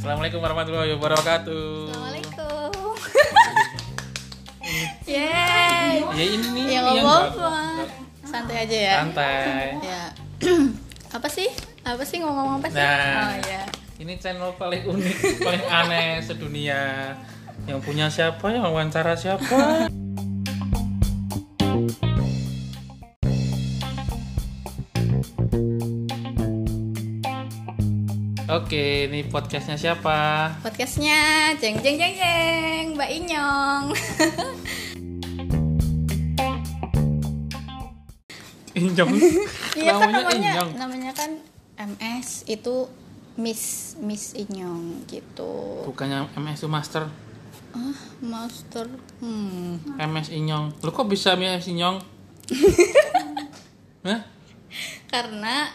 Assalamualaikum warahmatullahi wabarakatuh. Assalamualaikum. Yeay. Ya ini Ya nggak yang apa-apa. Santai aja ya. santai. Ya. apa sih? Apa sih ngomong-ngomong apa sih? Nah. Oh iya. Ini channel paling unik, paling aneh sedunia. Yang punya siapa? Yang wawancara siapa? Oke, ini podcastnya siapa? Podcastnya jeng jeng jeng jeng Mbak Inyong. Injong. Iya kan Namanya namanya Inyong. namanya kan MS itu Miss Miss Inyong gitu. Bukannya MS itu Master, Ah, master. Hmm. MS Inyong. Lu kok bisa MS Inyong? Hah? Karena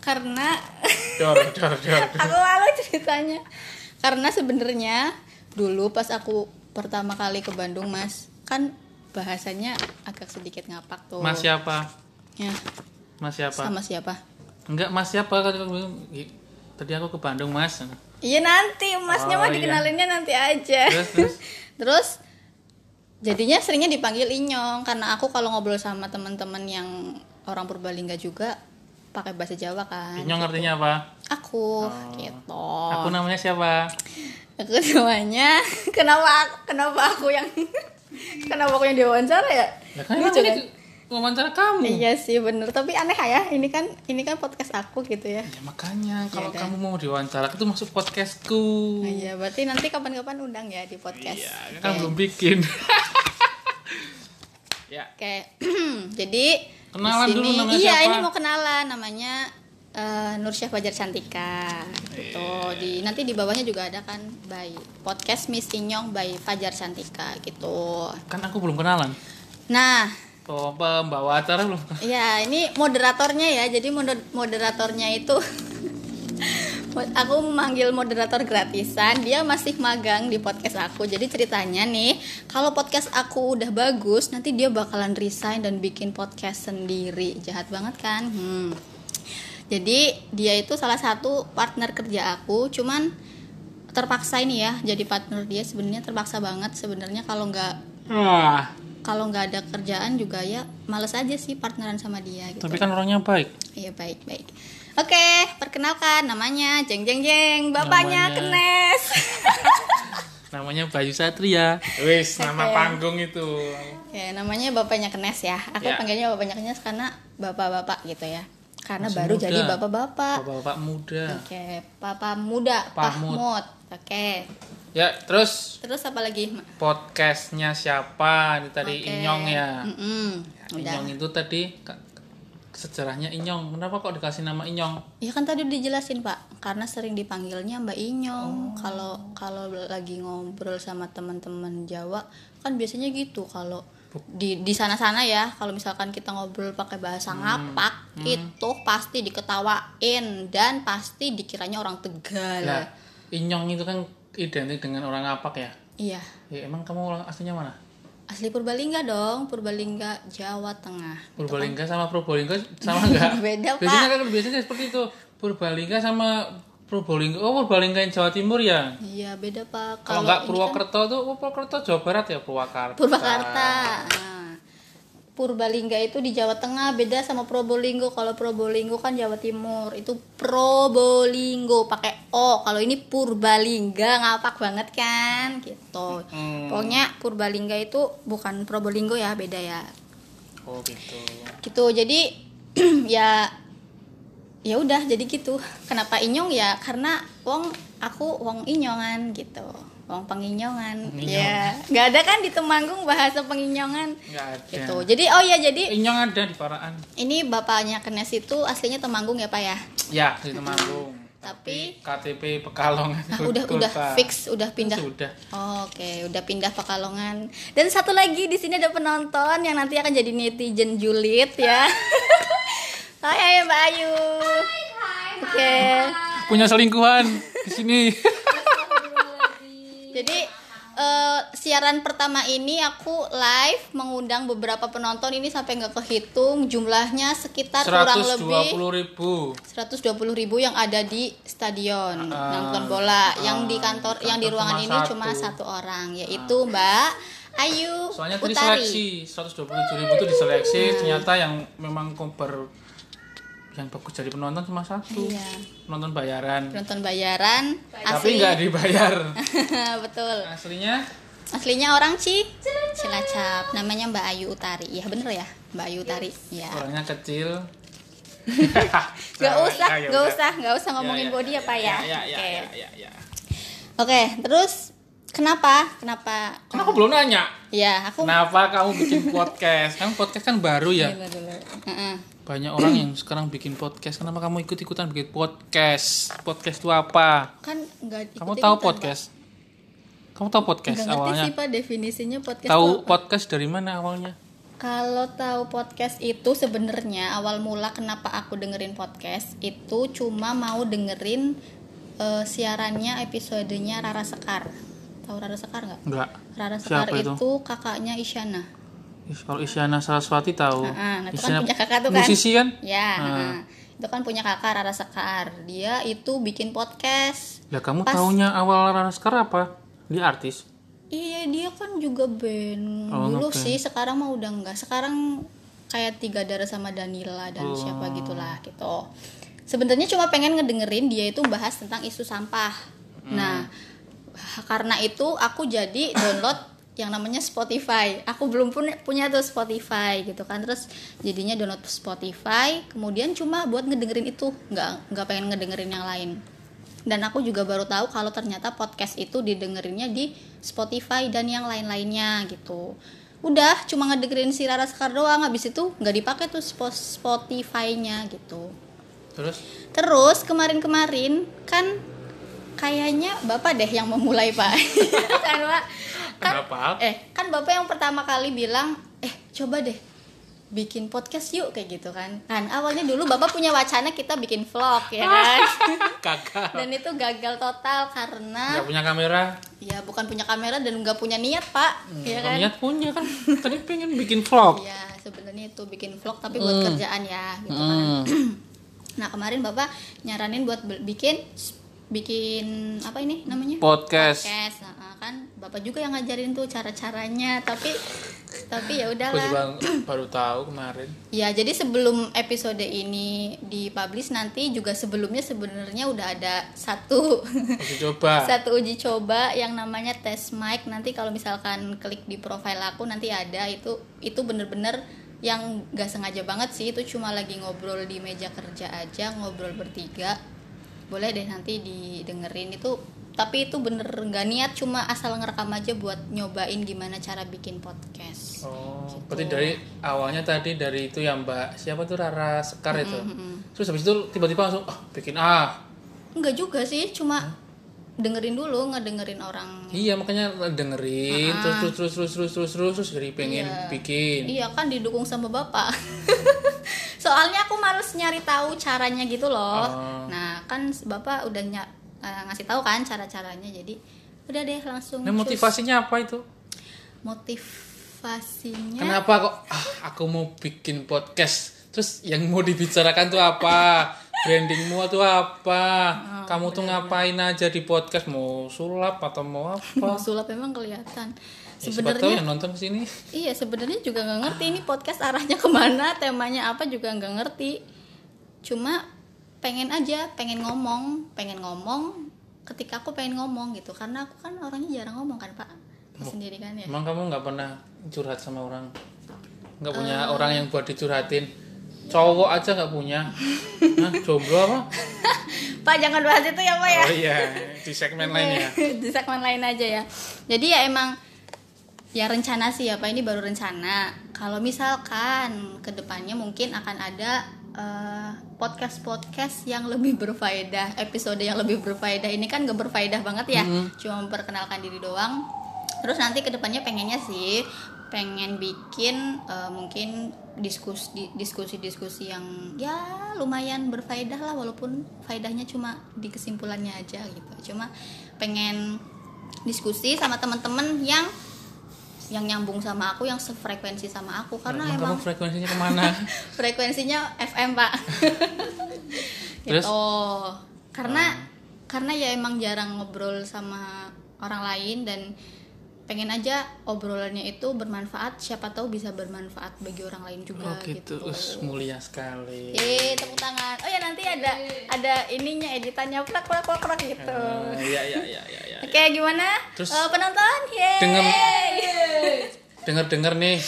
karena Dor, dor, dor. aku malu ceritanya karena sebenarnya dulu pas aku pertama kali ke Bandung mas kan bahasanya agak sedikit ngapak tuh Mas siapa? ya Mas siapa? sama siapa Enggak, Mas siapa kan aku bilang, "Ih, tadi aku ke Bandung, Mas. iya nanti masnya Oh, mah iya. dikenalinnya nanti aja Terus terus terus jadinya seringnya dipanggil Inyong karena aku kalau ngobrol sama teman-teman yang orang Purbalingga juga pakai bahasa Jawa kan Inyong artinya apa? aku Oh. gitu Aku namanya siapa? aku namanya kenapa kenapa aku yang kenapa aku yang diwawancara ya Lah kan ini Lucu, tadi wawancara kamu. iya sih bener tapi aneh ya ini kan ini kan podcast aku gitu ya Ya makanya kalau kan? kamu mau diwawancara itu masuk podcastku. Nah, iya berarti nanti kapan-kapan undang ya di podcast Iya, Oke. kan belum bikin. ya, oke jadi Kenalan di dulu sini- namanya iya siapa? ini mau kenalan namanya eh, Nursyah Fajar Cantika gitu Iya. di nanti di bawahnya juga ada kan by podcast Miss Inyong by Fajar Cantika gitu kan aku belum kenalan. nah Oh, pembawa acara belum. Ya, ini moderatornya ya. Jadi moder- moderatornya itu Mod- aku memanggil moderator gratisan. Dia masih magang di podcast aku. Jadi ceritanya nih, kalau podcast aku udah bagus, nanti dia bakalan resign dan bikin podcast sendiri. Jahat banget kan? Hmm. Jadi dia itu salah satu partner kerja aku, cuman terpaksa ini ya jadi partner dia sebenarnya terpaksa banget sebenarnya kalau nggak Wah, kalau nggak ada kerjaan juga ya males aja sih partneran sama dia gitu tapi kan orangnya baik. iya baik baik oke perkenalkan namanya jeng jeng jeng bapaknya Namanya- Kenes Namanya Bayu Satria. Wis, nama Oke. panggung itu. ya namanya bapaknya Kenes ya aku Ya. panggilnya bapaknya Kenes karena bapak-bapak gitu ya karena Masih baru muda. jadi bapak-bapak Bapak-bapak muda. oke papa muda Pahmud. Pahmud oke Ya, terus terus apa lagi Ma? podcastnya siapa ini tadi Oke. Inyong ya Mm-mm. udah Inyong itu tadi ke- sejarahnya Inyong kenapa kok dikasih nama Inyong Ya kan tadi dijelasin Pak, karena sering dipanggilnya Mbak Inyong. Kalau kalau lagi ngobrol sama teman-teman Jawa kan biasanya gitu kalau di di sana-sana ya, kalau misalkan kita ngobrol pakai bahasa ngapak itu pasti diketawain dan pasti dikiranya orang Tegal. nah Inyong itu kan identik dengan orang ngapak ya Iya. ya emang kamu orang aslinya mana Asli Purbalingga dong, Purbalingga Jawa Tengah. Purbalingga sama Probolingga sama enggak Beda, Pak. biasanya kan biasanya seperti itu Purbalingga sama Probolingga oh Purbalingga yang Jawa Timur ya Iya, beda Pak. kalau enggak ini kan- Purwakerto tuh oh, Purwakerto Jawa Barat ya Purwakarta Purwakarta. Nah, Purbalingga itu di Jawa Tengah beda sama Probolinggo. Kalau Probolinggo kan Jawa Timur, itu Probolinggo pakai O. Kalau ini Purbalingga ngapak banget kan gitu. Hmm. Pokoknya Purbalingga itu bukan Probolinggo ya, beda ya. oh gitu Gitu. Jadi ya ya udah jadi gitu. Kenapa Inyong ya? Karena wong aku wong Inyongan gitu. Wong penginyongan. Penginyongan. Ya, nggak ada kan di Temanggung bahasa penginyongan enggak ada gitu jadi oh ya jadi Inyong ada di Paraan ini bapaknya Kenes itu aslinya Temanggung ya pak ya Ya, di Temanggung. Tapi- KTP Pekalongan. Nah, udah Iya, Betul, udah Pak. fix udah pindah Sudah. Oh, oke udah pindah Pekalongan dan satu lagi di sini ada penonton yang nanti akan jadi netizen julid ya Hai, hai Mbak Ayu oke Punya selingkuhan di sini. jadi eh, siaran pertama ini aku live mengundang beberapa penonton ini sampai nggak kehitung jumlahnya sekitar kurang lebih 120 ribu 120 ribu yang ada di stadion Ah, nonton bola. yang di kantor, di yang di kantor ruangan cuma ini satu. cuma satu orang yaitu Mbak Ayu Soalnya tadi Utari. Hmm. seleksi 127 ribu itu diseleksi ternyata yang memang koper yang bagus dari penonton cuma satu Iya. penonton bayaran Nonton bayaran tapi asli. nggak dibayar Betul. aslinya Aslinya orang Ci Cilacap. Namanya Mbak Ayu Utari. Iya bener ya? Mbak Ayu Utari. Iya. orangnya kecil Gak Nah, usah, ya gak udah. usah, gak usah Ya, ngomongin ya, body apa ya. ya, ya, Oke. ya, ya, ya. Oke, terus kenapa? Kenapa? Kan aku belum nanya Ya, aku Kenapa kamu bikin podcast? Kan podcast kan baru ya. Bentar dulu. Heeh. Banyak orang yang sekarang bikin podcast. Kenapa kamu ikut-ikutan bikin podcast? Podcast itu apa? Kan enggak Kamu tahu podcast? Kamu tahu podcast Enggak ngerti awalnya? sih Pak definisinya podcast. Tahu tuh apa. podcast dari mana awalnya? Kalau tahu podcast itu sebenarnya awal mula kenapa aku dengerin podcast itu cuma mau dengerin eh, siarannya episodenya Rara Sekar. Tahu Rara Sekar nggak? Enggak. Rara Sekar Siapa itu? itu? kakaknya Isyana. Ih, Kalau Isyana Saraswati tahu. Nah, itu kan Isyana- punya kakak tuh kan. Musisi kan? Ya, Ah. heeh. itu kan punya kakak Rara Sekar. Dia itu bikin podcast. Lah kamu Pas. taunya awal Rara Sekar apa? Dia artis. Iya, dia kan juga band Oh, dulu ngeband. sih. Sekarang mah udah enggak. Sekarang kayak tiga darah sama Danila dan siapa gitulah gitu. Sebenarnya cuma pengen ngedengerin dia itu bahas tentang isu sampah. Nah, ha- karena itu aku jadi download yang namanya Spotify. Aku belum punya punya tuh Spotify gitu kan. Terus jadinya download Spotify, kemudian cuma buat ngedengerin itu, nggak nggak pengen ngedengerin yang lain. Dan aku juga baru tahu kalau ternyata podcast itu didengerinnya di Spotify dan yang lain-lainnya gitu. Udah cuma ngedengerin si Rara Sekar doang, habis itu nggak dipakai tuh Spo- Spotify-nya gitu. Terus Terus kemarin-kemarin kan kayaknya bapak deh yang memulai pak karena kan kenapa? eh kan bapak yang pertama kali bilang eh coba deh bikin podcast yuk kayak gitu kan kan awalnya dulu bapak punya wacana kita bikin vlog ya kan Kakak. dan itu gagal total Enggak karena punya kamera. ya bukan punya kamera dan nggak punya niat pak ya kan Niat Hmm, punya kan. Tadi pengen bikin vlog. ya sebenarnya itu bikin vlog tapi buat kerjaan ya gitu kan Hmm. nah kemarin bapak nyaranin buat be- bikin bikin apa ini namanya podcast. podcast Nah, kan bapak juga yang ngajarin tuh cara caranya tapi tapi ya Aku udahlah juga baru tahu kemarin. ya jadi sebelum episode ini dipublish nanti juga sebelumnya sebenarnya udah ada satu Aku coba. satu uji coba yang namanya tes mic nanti kalau misalkan klik di profil aku nanti ada itu itu bener-bener yang gak sengaja banget sih itu cuma lagi ngobrol di meja kerja aja ngobrol bertiga boleh deh nanti didengerin itu tapi itu bener nggak niat cuma asal ngerekam aja buat nyobain gimana cara bikin podcast Oh, berarti dari awalnya tadi dari itu ya Mbak siapa tuh Rara Sekar itu. Terus habis itu tiba-tiba langsung ah bikin ah. nggak juga sih cuma dengerin dulu ngedengerin orang Iya makanya dengerin terus terus terus terus terus terus terus terus jadi pengen bikin. Iya kan didukung sama bapak. Soalnya aku males nyari tahu caranya gitu loh. Oh. Nah kan bapak udah nya- eh, ngasih tahu kan cara caranya jadi udah deh langsung. Nah cus. motivasinya apa itu? Motivasinya. Kenapa kok ah aku mau bikin podcast? Terus yang mau dibicarakan tuh apa? Brandingmu tuh apa? Oh, Kamu tuh ngapain aja di podcast? Mau sulap atau mau apa? Mau sulap emang Ya, kelihatan. siapa tahu Sebenarnya yang nonton sini. iya sebenarnya juga nggak ngerti ini podcast arahnya kemana, temanya apa juga nggak ngerti. Cuma pengen aja, pengen ngomong, pengen ngomong. Ketika aku pengen ngomong gitu, karena aku kan orangnya jarang ngomong kan pak, Aku sendiri kan ya. Emang kamu nggak pernah curhat sama orang? Nggak punya Eh. orang yang buat dicurhatin? Cowok aja nggak punya? Hah, jomblo apa? Pak jangan bahas itu ya Pak ya. Oh iya, di segmen lainnya. Di segmen lain aja ya. Jadi ya emang ya rencana sih ya Pak ini baru rencana. Kalau misalkan kedepannya mungkin akan ada eh, podcast-podcast yang lebih berfaedah, episode yang lebih berfaedah. Ini kan gak berfaedah banget ya, cuma memperkenalkan diri doang. Terus nanti kedepannya pengennya sih pengen bikin eh, mungkin diskus- di- diskusi-diskusi yang ya lumayan berfaedah lah walaupun faedahnya cuma di kesimpulannya aja gitu. Cuma pengen diskusi sama teman-teman yang yang nyambung sama aku, yang sefrekuensi sama aku karena Emang emang kamu frekuensinya kemana? frekuensinya FM pak Terus? Ah. gitu karena karena ya emang jarang ngobrol sama orang lain dan pengen aja obrolannya itu bermanfaat siapa tahu bisa bermanfaat bagi orang lain juga oh gitu, Iya. gitu, us mulia sekali. Yeay, tepuk tangan oh ya nanti ada ada ininya editannya plak plak plak plak gitu Ah, Iya iya iya iya. iya. oke gimana Terus- Eh, penonton Yeay. Dengan- dengar dengar nih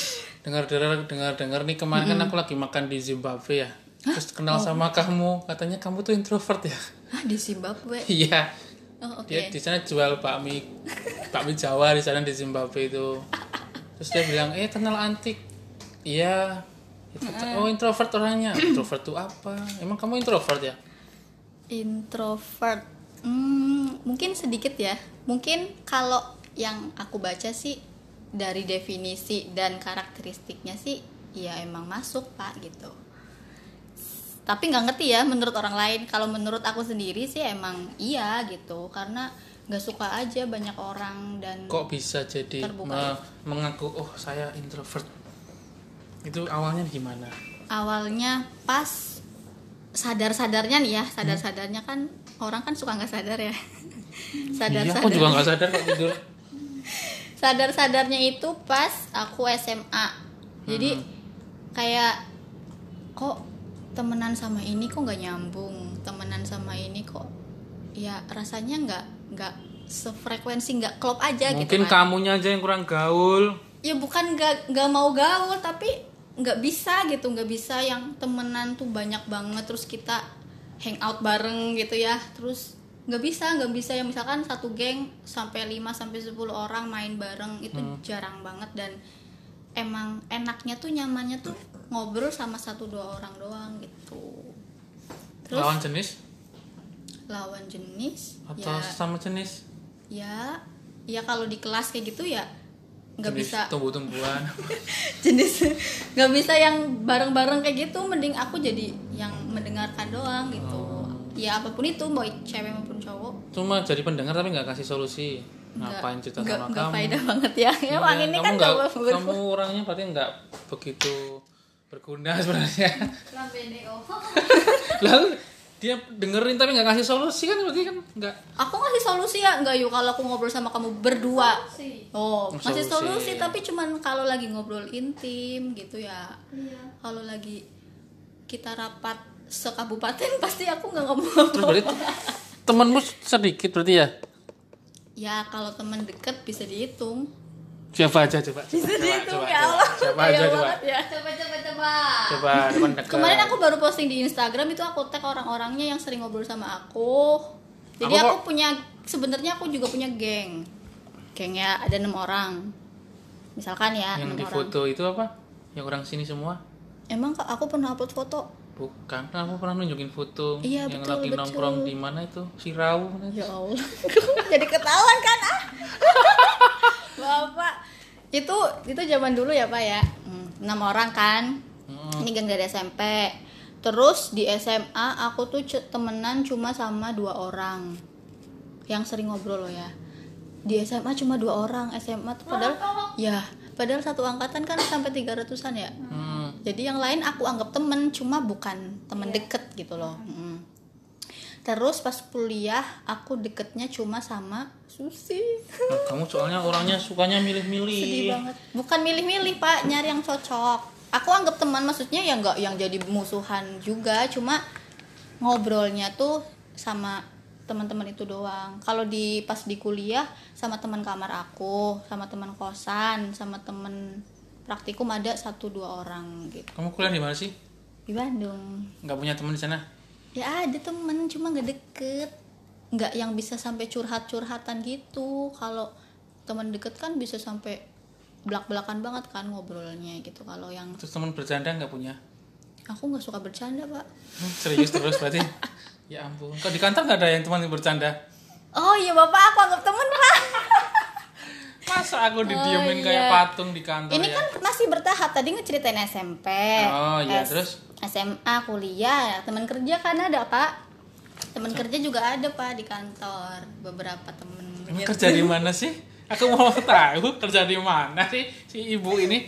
dengar dengar dengar dengar nih kemarin kan aku lagi makan di Zimbabwe ya terus kenal sama kamu katanya kamu tuh introvert ya ah di Zimbabwe iya oh oke dia di sana jual bakmi bakmi Jawa di sana di Zimbabwe itu terus dia bilang eh kenal antik iya Itu- oh introvert orangnya introvert tuh apa emang kamu introvert ya Introvert. Hmm, mungkin sedikit ya. Mungkin kalau yang aku baca sih dari definisi dan karakteristiknya sih ya emang masuk, Pak, gitu. Tapi nggak ngerti ya menurut orang lain. Kalau menurut aku sendiri sih emang iya gitu. Karena nggak suka aja banyak orang dan kok bisa jadi Terbuka. me- mengaku oh saya introvert itu awalnya gimana awalnya pas sadar-sadarnya nih Hmm? ya, sadar-sadarnya kan orang kan suka nggak sadar iya ya. Sadar-sadar. aku juga nggak sadar kok tidur sadar-sadarnya itu pas aku SMA jadi kayak kok temenan sama ini kok nggak nyambung temenan sama ini kok ya rasanya nggak nggak sefrekuensi nggak klop aja Mungkin gitu kan kamunya aja yang kurang gaul. ya bukan nggak nggak mau gaul tapi nggak bisa gitu nggak bisa yang temenan tuh banyak banget terus kita hangout bareng gitu ya terus nggak bisa nggak bisa yang misalkan satu geng sampai 5 sampai 10 orang main bareng itu Hmm. jarang banget dan emang enaknya tuh nyamannya tuh ngobrol sama satu dua orang doang gitu terus lawan, Lawan jenis jenis atau ya sama jenis? ya ya kalau di kelas kayak gitu ya nggak Jenis bisa tumbuh-tumbuhan. jenis nggak bisa yang bareng-bareng kayak gitu mending aku jadi yang mendengarkan doang gitu Oh. ya apapun itu mau cewek maupun cowok Cuma jadi pendengar tapi nggak kasih solusi. nggak- Ngapain cerita nggak- sama nggak kamu? faedah banget ya Iya, emang ini kan nggak- nggak ber- kamu orangnya berarti nggak begitu berguna sebenarnya. oh. Lalu dia dengerin tapi nggak kasih solusi kan berarti kan nggak aku ngasih solusi ya nggak yuk kalau aku ngobrol sama kamu berdua oh Solusi. ngasih solusi tapi cuman kalau lagi ngobrol intim gitu ya kalau lagi kita rapat sekabupaten pasti aku nggak ngomong terus berarti temanmu sedikit berarti ya ya kalau teman deket bisa dihitung siapa aja coba Bisa coba, dihitung, coba, ya coba. Allah. siapa Kaya aja coba banget ya. coba coba coba coba teman dekat Kemarin aku baru posting di Instagram itu aku tag orang-orangnya yang sering ngobrol sama aku. Jadi Aku aku, kok- punya sebenarnya aku juga punya geng. Gengnya ada enam orang. Misalkan ya yang enam di orang. foto itu apa yang orang sini semua Emang kak aku pernah upload foto? Bukan, kan aku pernah nunjukin foto Iya, yang betul, lagi betul. nongkrong di mana itu? Sirau. mana itu? Ya Allah. Jadi ketahuan kan ah. Bapak. Itu itu zaman dulu ya, Pak ya. Hmm, Enam orang kan. Mm. Ini geng dari SMP. Terus di SMA aku tuh ce- temenan cuma sama dua orang. Yang sering ngobrol loh ya. Di SMA cuma dua orang. SMA tuh padahal ya, padahal satu angkatan kan sampai 300-an ya. Hmm. Jadi yang lain aku anggap temen, cuma bukan temen deket gitu loh. Mm. Terus pas kuliah aku deketnya cuma sama Susi. Nah, kamu soalnya orangnya sukanya Sedih milih-milih. banget. Bukan milih-milih pak, nyari yang cocok. Aku anggap teman maksudnya ya nggak yang jadi musuhan juga, cuma ngobrolnya tuh sama teman-teman itu doang. Kalau di pas di kuliah sama teman kamar aku, sama teman kosan, sama teman praktikum ada satu dua orang gitu Kamu kuliah di mana sih? di Bandung. Nggak punya teman di sana? Ya ada temen cuma nggak deket nggak yang bisa sampai curhat-curhatan gitu kalau teman deket kan bisa sampai belak-belakan banget kan ngobrolnya gitu kalau yang Terus teman bercanda nggak punya? aku nggak suka bercanda pak Hmm, serius terus berarti? ya ampun. Kok di kantor nggak ada yang teman yang bercanda? oh iya bapak aku anggap temen pak Masa aku didiemin Oh, kayak iya. patung di kantor ini ya? kan masih bertahap tadi ngeceritain SMP Oh, iya, S- terus? SMA kuliah teman kerja kan ada pak teman kerja juga ada pak di kantor beberapa temen Emang kerja di mana sih? Aku mau tahu kerja di mana sih si ibu ini.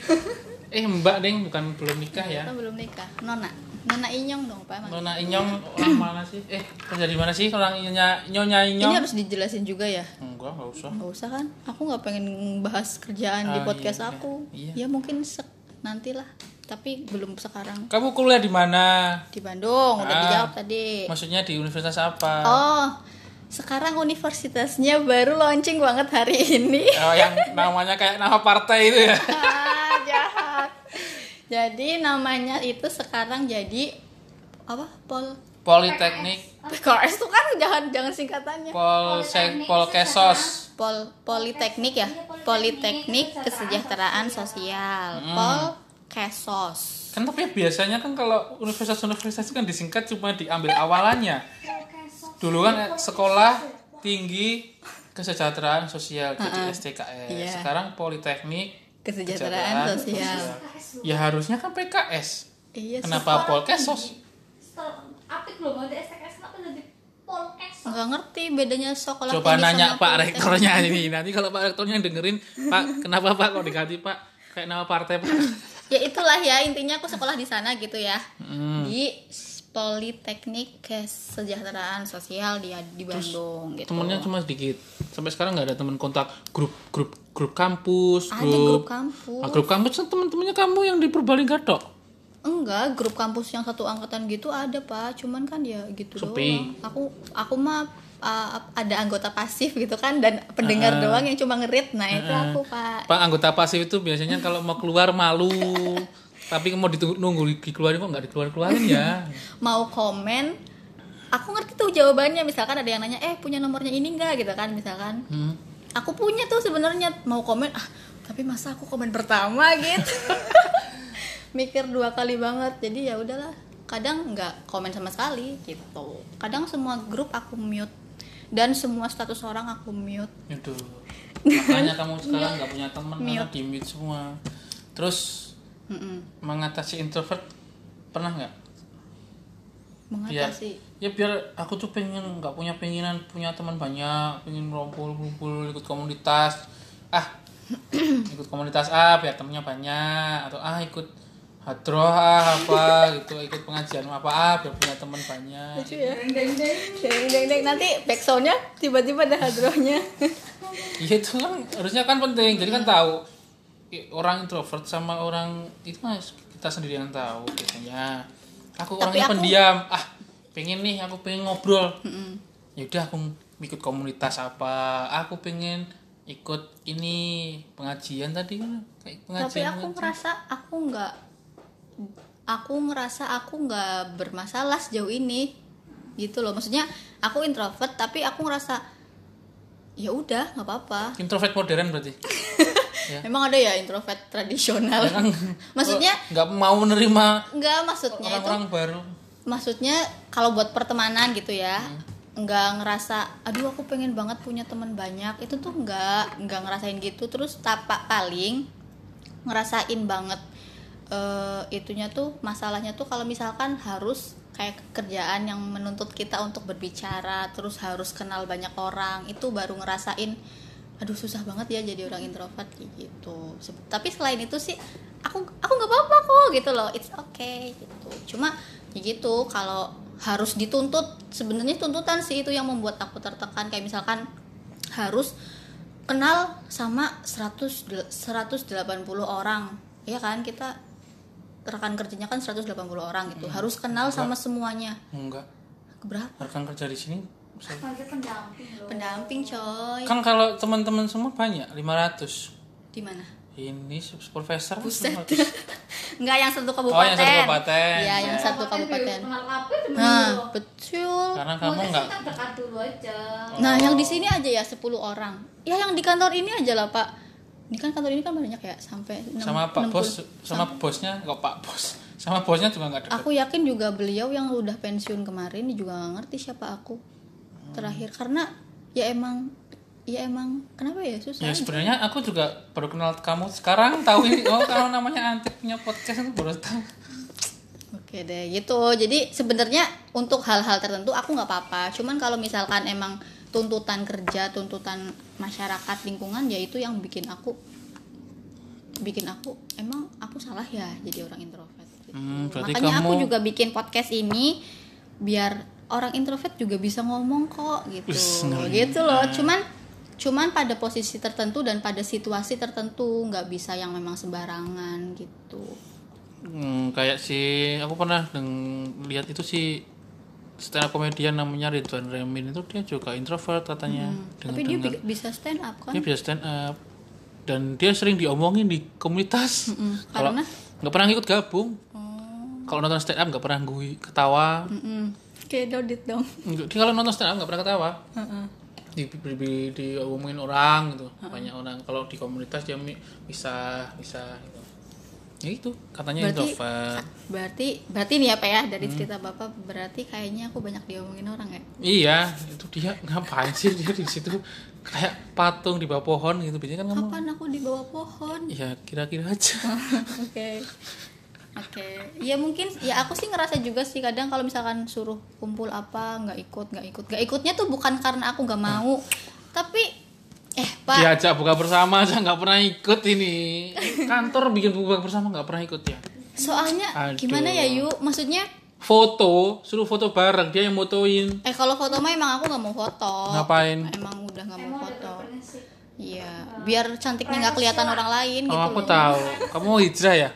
Eh mbak deng bukan belum nikah ya. Kita belum nikah. Nona. Nona Inyong dong, Pak. emang. Nona Inyong orang mana sih? Eh kerja di mana sih orang Inya- Nyonya Inyong? Ini harus dijelasin juga ya. Enggak, enggak usah. Gak usah kan? Aku nggak pengen bahas kerjaan di Ah, podcast iya, iya. aku. Iya. Ya mungkin sek- nantilah. Tapi belum sekarang. Kamu kuliah di mana? Di Bandung udah Ah. dijawab tadi. Maksudnya di universitas apa? Oh, sekarang universitasnya baru launching banget hari ini. Oh, yang namanya kayak nama partai itu ya. Ah, jahat. Jadi namanya itu sekarang jadi apa? Pol Politeknik, PKS tuh kan jangan jangan singkatannya. Polsek, Polkesos. Pol Politeknik ya. Politeknik Kesejahteraan Sosial. Hmm. Polkesos. Kan tapi biasanya kan kalau universitas-universitas itu kan disingkat cuma diambil awalannya. Dulu kan sekolah tinggi kesejahteraan sosial jadi STKS. Iya. Sekarang Politeknik Kesejahteraan Sosial. Ya harusnya kan PKS. Iya. sih. Kenapa Polkesos? Apik belum ada SKS kenapa jadi polkes? Nggak ngerti bedanya sekolah Coba tinggi nanya sama Pak politeknik. Rektornya ini. Nanti kalau Pak Rektornya dengerin, Pak, kenapa Pak kok diganti Pak? Kayak nama partai Pak. ya itulah ya intinya aku sekolah di sana gitu ya Hmm. di Politeknik Kesejahteraan Sosial di di Bandung gitu Temennya cuma sedikit. Sampai sekarang nggak ada teman kontak grup grup grup kampus, ada grup grup kampus Ah, grup kampus kan teman-temannya kamu yang di Purbalingga tok. enggak grup kampus yang satu angkatan gitu ada pak cuman kan ya gitu Sepi. doang aku aku mah uh, ada anggota pasif gitu kan dan pendengar doang yang cuma ngerit nah itu aku pak Pak anggota pasif itu biasanya kalau mau keluar malu. Tapi mau ditunggu nunggu dikeluarin kok nggak dikeluarin-keluarin ya. mau komen aku ngerti tuh jawabannya misalkan ada yang nanya eh punya nomornya ini enggak gitu kan misalkan Hmm. aku punya tuh sebenarnya mau komen ah tapi masa aku komen pertama gitu mikir dua kali banget jadi ya udahlah kadang nggak komen sama sekali gitu kadang semua grup aku mute dan semua status orang aku mute Aduh. Makanya kamu sekarang nggak punya teman karena di mute semua. Terus Mm-mm. mengatasi introvert pernah nggak? Biar- mengatasi ya biar aku tuh pengen nggak punya penginan punya teman banyak pengen ngumpul ngumpul ikut komunitas ah ikut komunitas ah biar temennya banyak atau ah ikut hadroh ah apa gitu ikut pengajian apa ah biar punya teman banyak lucu ya deng deng deng nanti backsoundnya tiba-tiba ada hadrohnya ya itu kan harusnya kan penting jadi kan tahu i- orang introvert sama orang itu kan kita sendiri yang tahu biasanya aku Tapi orangnya aku- pendiam ah pengen nih aku pengen ngobrol yaudah aku ikut komunitas apa aku pengen ikut ini pengajian tadi kan kayak tapi pengajian aku ngerasa aku nggak aku ngerasa aku nggak bermasalah sejauh ini gitu loh maksudnya aku introvert tapi aku ngerasa ya udah nggak apa-apa introvert modern berarti memang ada ya introvert tradisional maksudnya Oh, nggak mau menerima nggak maksudnya itu orang-orang baru maksudnya kalau buat pertemanan gitu ya nggak ngerasa aduh aku pengen banget punya teman banyak itu tuh nggak nggak ngerasain gitu terus tapak paling ngerasain banget eh, itunya tuh masalahnya tuh kalau misalkan harus kayak kerjaan yang menuntut kita untuk berbicara terus harus kenal banyak orang itu baru ngerasain aduh susah banget ya jadi orang introvert kayak gitu Se- tapi selain itu sih aku aku nggak apa-apa kok gitu loh it's okay gitu cuma ya gitu kalau harus dituntut sebenarnya tuntutan sih itu yang membuat aku tertekan kayak misalkan harus kenal sama 100 del- 180 orang ya kan kita rekan kerjanya kan 180 orang gitu harus kenal sama semuanya enggak berapa rekan kerja di sini saya- Sebagai pendamping loh. pendamping coy kan kalau teman-teman semua banyak 500 di mana Ini se- profesor Buset. semua. Enggak yang satu Oh, kabupaten. yang satu kabupaten. Iya, yang satu biar kabupaten. Kenal kabeh temen Nah, lo. betul. Karena kamu Makanya nggak Kita dekat dulu aja. Nah, yang di sini aja ya 10 orang. Ya yang di kantor ini aja lah, Pak. Ini kan kantor ini kan banyak ya, sampai enam- sama Pak 60. Bos, sama bosnya nggak Pak Bos, sama bosnya juga nggak Ya, dekat. Aku yakin juga beliau yang udah pensiun kemarin juga nggak ngerti siapa aku terakhir karena ya emang ya emang kenapa ya Ya susah aja. sebenarnya aku juga baru kenal kamu sekarang tahu ini oh kalau namanya Antik punya podcast aku baru tahu. Oke deh gitu. Jadi sebenarnya untuk hal-hal tertentu aku nggak apa-apa. Cuman kalau misalkan emang tuntutan kerja tuntutan masyarakat lingkungan yaitu yang bikin aku bikin aku emang aku salah ya jadi orang introvert gitu. Hmm, berarti makanya aku kamu- juga bikin podcast ini biar orang introvert juga bisa ngomong kok gitu Wis, ngeri. gitu Ah. loh cuman cuman pada posisi tertentu dan pada situasi tertentu nggak bisa yang memang sembarangan gitu Hmm, kayak si aku pernah deng- lihat itu si stand up komedian namanya Ridwan Remin itu dia juga introvert katanya. Hmm. tapi dia bi- bisa stand up kan dia bisa stand up dan dia sering diomongin di komunitas Kalau- karena? Oh. nggak pernah ikut gabung kalau nonton stand up nggak pernah gue ketawa Mm-mm. kayak dodit dong Nggak, dia kalau nonton stand up nggak pernah ketawa di, di, di- diomongin orang gitu banyak orang kalau di komunitas dia mi- bisa bisa gitu ya itu katanya Berarti- introvert Eh. berarti berarti nih apa ya dari Mm. cerita bapak berarti kayaknya aku banyak diomongin orang ya iya itu dia ngapain sih dia di situ kayak patung di bawah pohon gitu biasanya kan kamu kapan aku di bawah pohon ya kira-kira aja oke oke ya mungkin ya aku sih ngerasa juga sih kadang kalau misalkan suruh kumpul apa nggak ikut nggak ikut nggak ikutnya tuh bukan karena aku Ah. nggak mau tapi eh pak diajak buka bersama aja nggak pernah ikut ini kantor bikin buka bersama nggak pernah ikut ya soalnya Aduh. gimana ya yuk maksudnya foto suruh foto bareng dia yang motoin eh kalau foto mah emang aku nggak mau foto ngapain emang udah nggak mau Emang ada foto preferensi. iya biar cantiknya nggak kelihatan orang lain oh gitu Iya. aku loh. tahu kamu mau hijrah ya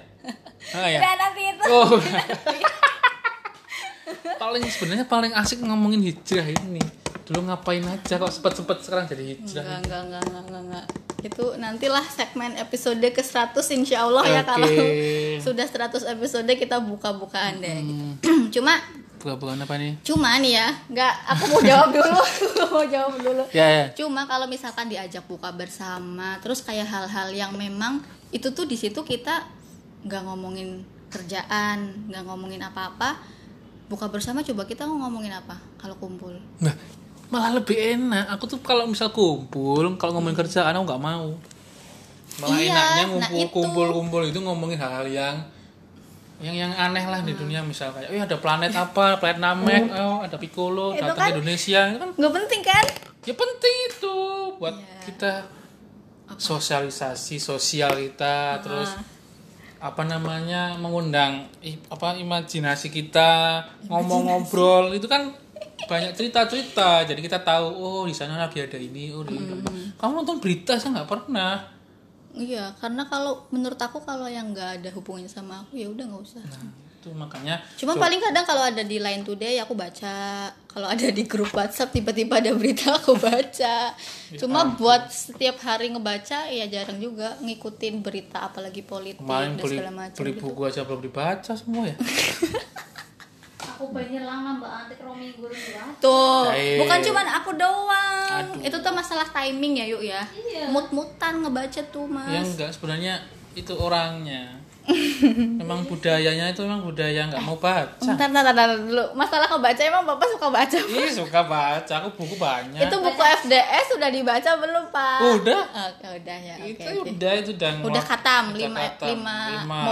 Ah, ya? Udah nanti itu. Oh. paling sebenarnya paling asik ngomongin hijrah ini dulu ngapain aja kok sempet sempet sekarang jadi hijrah Enggak, enggak, enggak, enggak, enggak, enggak. Itu nantilah segmen episode ke-100 insya Allah ya Oke. kalau sudah 100 episode kita buka-bukaan deh. gitu. cuma bukan bukan apa nih cuma nih ya, enggak aku mau jawab dulu, aku mau jawab dulu. ya ya Cuma kalau misalkan diajak buka bersama, terus kayak hal-hal yang memang itu tuh di situ kita nggak ngomongin kerjaan, nggak ngomongin apa-apa. Buka bersama coba kita mau ngomongin apa kalau kumpul? nah malah lebih enak aku tuh kalau misal kumpul kalau ngomongin kerjaan aku nggak mau malah Hmm. Iya, enaknya nah ngumpul itu. kumpul kumpul itu ngomongin hal-hal yang yang yang aneh lah Ah. di dunia misal kayak oh ada planet apa planet Namek oh ada Piccolo Itu datang kan- ke Indonesia itu kan Nggak penting kan? ya penting itu buat Iya. kita sosialisasi sosial Ah. kita terus apa namanya mengundang i- apa imajinasi kita ngomong ngobrol itu kan banyak cerita cerita jadi kita tahu oh di sana lagi ada ini oh di Hmm. kamu nonton berita saya nggak pernah Iya, karena kalau menurut aku kalau yang nggak ada hubungannya sama aku ya udah nggak usah. nah, itu makanya Cuma tuh, paling kadang kalau ada di Line Today aku baca, kalau ada di grup WhatsApp tiba-tiba ada berita aku baca. Ya Cuma buat setiap hari ngebaca ya jarang juga ngikutin berita apalagi politik kemarin dan beli segala macam. beli gitu. buku aja belum dibaca semua ya Aku banyak lama Mbak Antik Romi gue bilang. Tuh, Eh. bukan cuman aku doang. Aduh. Itu tuh masalah timing ya, Yuk ya. Iya. Mut-mutan ngebaca tuh, Mas. Ya enggak, sebenarnya itu orangnya. Memang budayanya itu memang budaya nggak mau baca. Bentar, bentar, bentar, bentar dulu. Masalah kebaca emang Bapak suka baca? Ih, suka baca, aku buku Ya. banyak. Itu buku FDS sudah dibaca belum, Pak? Udah. Oke, udah ya. Oke. itu oke. udah itu udah ngelak- Udah khatam, lima- lima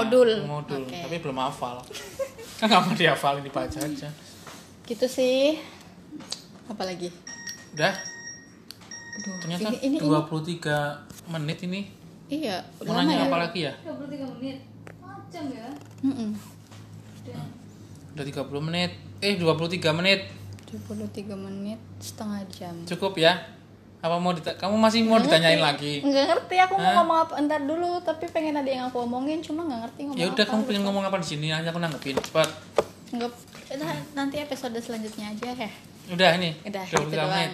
modul. modul, Oke. tapi belum hafal. kan nggak mau dihafalin dibaca aja. Gitu sih. Apalagi? Udah, Aduh, ternyata ini, ini, ini. 23 menit ini. Iya, Mau lama ya. nanya apa lagi ya? 23 menit. Macam ya. Mm-mm. Dan Udah 30 menit. Eh, 23 menit. 23 menit setengah jam. Cukup ya? Apa mau dita- kamu masih mau ditanyain lagi? Nggak ngerti aku mau Hah? ngomong apa entar dulu, tapi pengen ada yang aku omongin cuma nggak ngerti ngomong Ya udah apa. kamu pengen ngomong apa di sini? Nanti aku nanggepin cepat. Nggak, nah, nanti episode selanjutnya aja ya. Udah ini. Udah, 23 gitu doang. menit.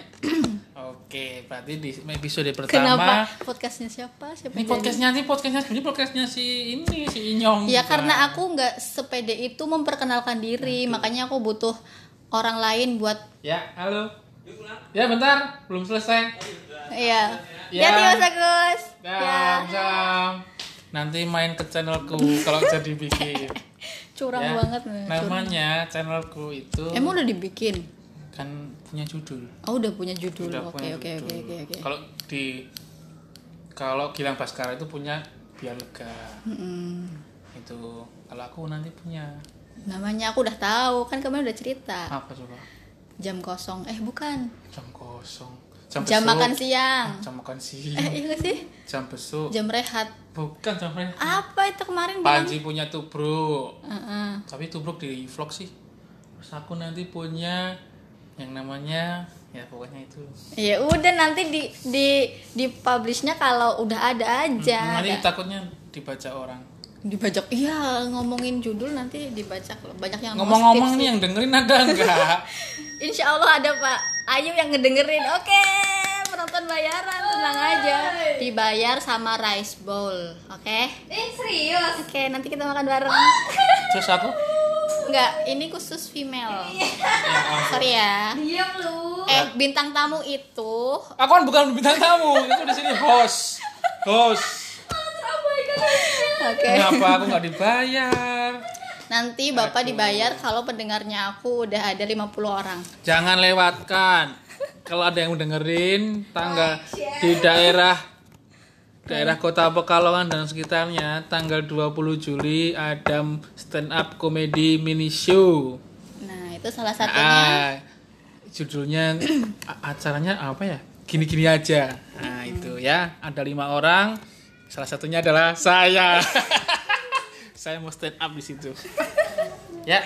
Oke, berarti di episode Kenapa pertama. podcastnya siapa? Siapa Ini yang jadi? podcastnya sih podcastnya sebenarnya podcastnya si ini si Inyong. Ya karena aku nggak sepede itu memperkenalkan diri, makanya aku butuh orang lain buat Ya, halo. Ya bentar, belum selesai. ya. Ya. Ya, Tio Sagus. Dah, Ya. salam. Nanti main ke channelku kalau jadi bikin. Curang Ya. banget nih. curang. Namanya channelku itu Emang udah dibikin? kan punya judul. Oh, udah punya judul. Udah Oke, punya oke, judul. oke, oke, oke. Kalau di kalau Gilang Baskara itu punya biar lega. Mm-mm. Itu kalau aku nanti punya Ah. Namanya aku udah tahu, kan kemarin udah cerita. apa coba? jam kosong eh bukan jam kosong jam, Hmm. jam besuk. makan siang jam makan eh siang iya sih jam besok jam rehat bukan jam re- apa itu kemarin bilang Panji punya tubruk Heeh. tapi tubruk di vlog sih terus aku nanti punya yang namanya ya pokoknya itu ya udah nanti di di di publishnya kalau udah ada aja Hmm, nanti Ada- takutnya dibaca orang dibajak iya ngomongin judul nanti dibajak loh banyak yang mau ngomong-ngomong skip nih sih. yang dengerin ada enggak insya Allah ada Pak Ayu yang ngedengerin oke penonton bayaran tenang aja dibayar sama rice bowl oke Ini Eh, serius. oke nanti kita makan bareng terus aku nggak ini khusus female ya ampun. sorry ya Diam lu. eh bintang tamu itu aku kan bukan bintang tamu itu di sini host host oke kenapa aku nggak dibayar nanti bapak dibayar kalau pendengarnya aku udah ada 50 orang jangan lewatkan kalau ada yang dengerin tanggal di daerah daerah kota Pekalongan dan sekitarnya tanggal 20 Juli ada stand up komedi mini show nah itu salah satunya ah, judulnya a- acaranya apa ya gini-gini aja nah itu ya ada lima orang salah satunya adalah saya saya mau stand up di situ ya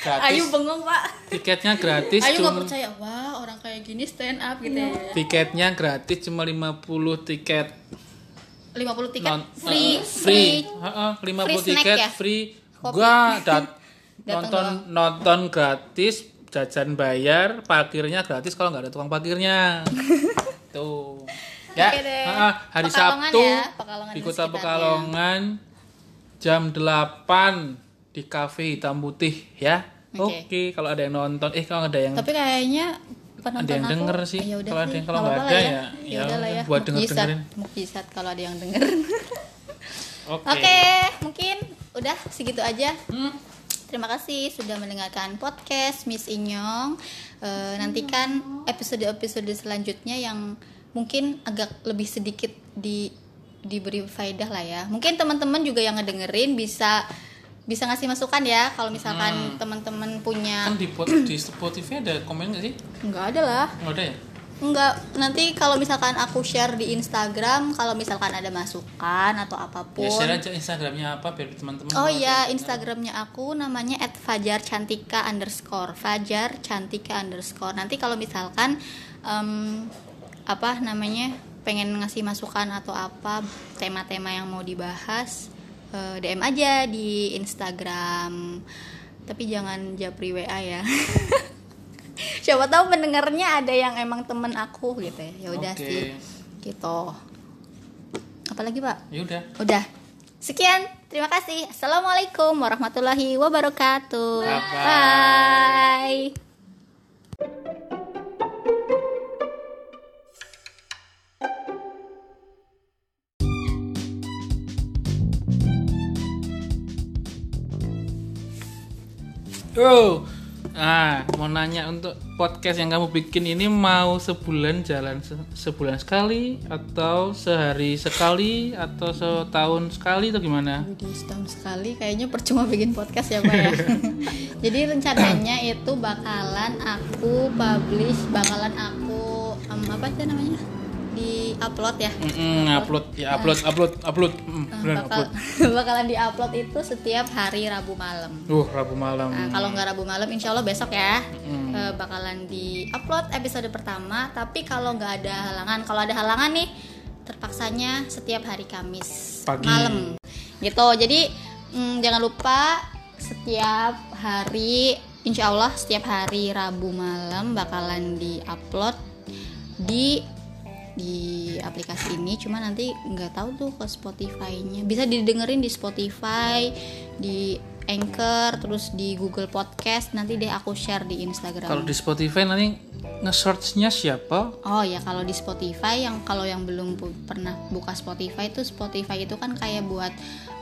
gratis Ayu bengong pak tiketnya gratis Ayu nggak cuma- percaya, wah orang kayak gini stand up gitu Iya. ya. Tiketnya gratis cuma 50 tiket. 50 tiket Non- free, eh, free. Heeh, 50 Free snack tiket ya? free. Kopi. Gua dat- Datang nonton nonton gratis, jajan bayar, parkirnya gratis kalau nggak ada tukang parkirnya. Tuh. Ya, Oke deh. heeh, hari Pekalongan Sabtu ya, Pekalongan di dan Kota sekitarnya. Pekalongan jam 8 di Cafe Hitam Putih ya. Oke, Oke. kalau ada yang nonton, eh kalau ada yang Tapi kayaknya penonton Ada yang aku, denger sih. ya udah Kalau sih, ada yang- kalau nggak nggak apa-apa ada lah ya, ya ya udah lah ya. buat denger- Mukjizat, dengerin. mukjizat kalau ada yang denger. Oke. Oke, mungkin udah segitu aja. Terima kasih sudah mendengarkan podcast Miss Inyong. Eh, nantikan episode-episode selanjutnya yang mungkin agak lebih sedikit di diberi faedah lah ya. Mungkin teman-teman juga yang ngedengerin bisa bisa ngasih masukan ya kalau misalkan teman-teman punya Kan di, pot, di Spotify ada komen nggak sih? nggak ada lah. Nggak ada ya? Enggak, nanti kalau misalkan aku share di Instagram, kalau misalkan ada masukan atau apapun. Ya share aja Instagramnya apa biar teman-teman. Oh tahu iya, kayak gimana. Instagramnya aku namanya @fajarcantika underscore fajar cantika underscore. Nanti kalau misalkan em, apa namanya pengen ngasih masukan atau apa tema-tema yang mau dibahas eh, DM aja di Instagram. Tapi jangan japri WA ya. Siapa tahu pendengarnya ada yang emang temen aku gitu ya. Ya udah Oke. sih. Gitu. Apalagi, Pak? Ya udah. Udah. Sekian, terima kasih. Assalamualaikum warahmatullahi wabarakatuh. Bye-bye. Bye. Yo. Oh, Nah, mau nanya untuk podcast yang kamu bikin ini mau sebulan jalan se- sebulan sekali atau sehari sekali atau setahun sekali atau gimana? Widih, setahun sekali kayaknya percuma bikin podcast ya Pak ya Jadi rencananya itu bakalan aku publish, bakalan aku em, apa sih namanya? Di upload ya. Mm-mm, upload ya upload upload upload. Mm, Nah, beneran Ah. bakal, upload. bakalan di upload itu setiap hari Rabu malam. Uh, Rabu malam. Hmm. Nah, kalau nggak Rabu malam, insya Allah besok ya Eh, bakalan di upload episode pertama. Tapi kalau nggak ada halangan, kalau ada halangan nih, terpaksanya setiap hari Kamis Pagi. malam, gitu. Jadi mm, jangan lupa setiap hari, insya Allah setiap hari Rabu malam bakalan di upload di di aplikasi ini cuma nanti nggak tahu tuh ke Spotify-nya bisa didengerin di Spotify di Anchor terus di Google Podcast nanti deh aku share di Kalau Instagram di Spotify nanti nge-searchnya siapa? oh ya kalau di Spotify yang kalau yang belum pu- pernah buka Spotify itu Spotify itu kan kayak buat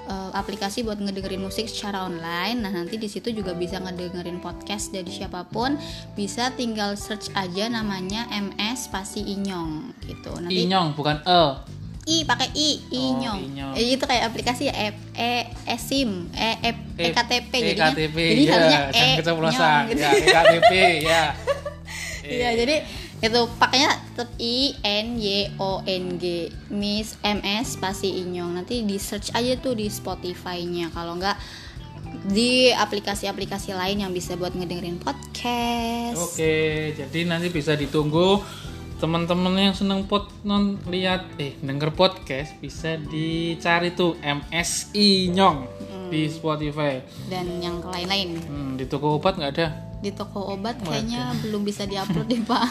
eh, aplikasi buat ngedengerin musik secara online nah nanti di situ juga bisa ngedengerin podcast dari siapapun bisa tinggal search aja namanya MS Pasti Inyong gitu nanti Inyong bukan E. I pakai I Inyong. Inyong. Eh, itu kayak aplikasi ya F E SIM E F E- EKTP jadinya. EKTP, Jadi ya, harusnya E jangan keceplosan. Nyong gitu. Ya, EKTP ya. Iya, jadi itu pakainya tetap I N Y O N G Miss M S pasti Inyong. Nanti di search aja tuh di Spotify-nya kalau enggak di aplikasi-aplikasi lain yang bisa buat ngedengerin podcast. Oke, jadi nanti bisa ditunggu teman-teman yang seneng pot non lihat eh denger podcast bisa dicari tuh MSI Nyong di Spotify. Dan yang lain-lain. Hmm, di toko obat nggak ada. Di toko obat kayaknya belum bisa diupload deh, Pak.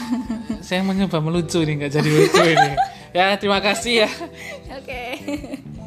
Saya mencoba melucu nih nggak jadi lucu ini. Ya terima kasih ya. Oke.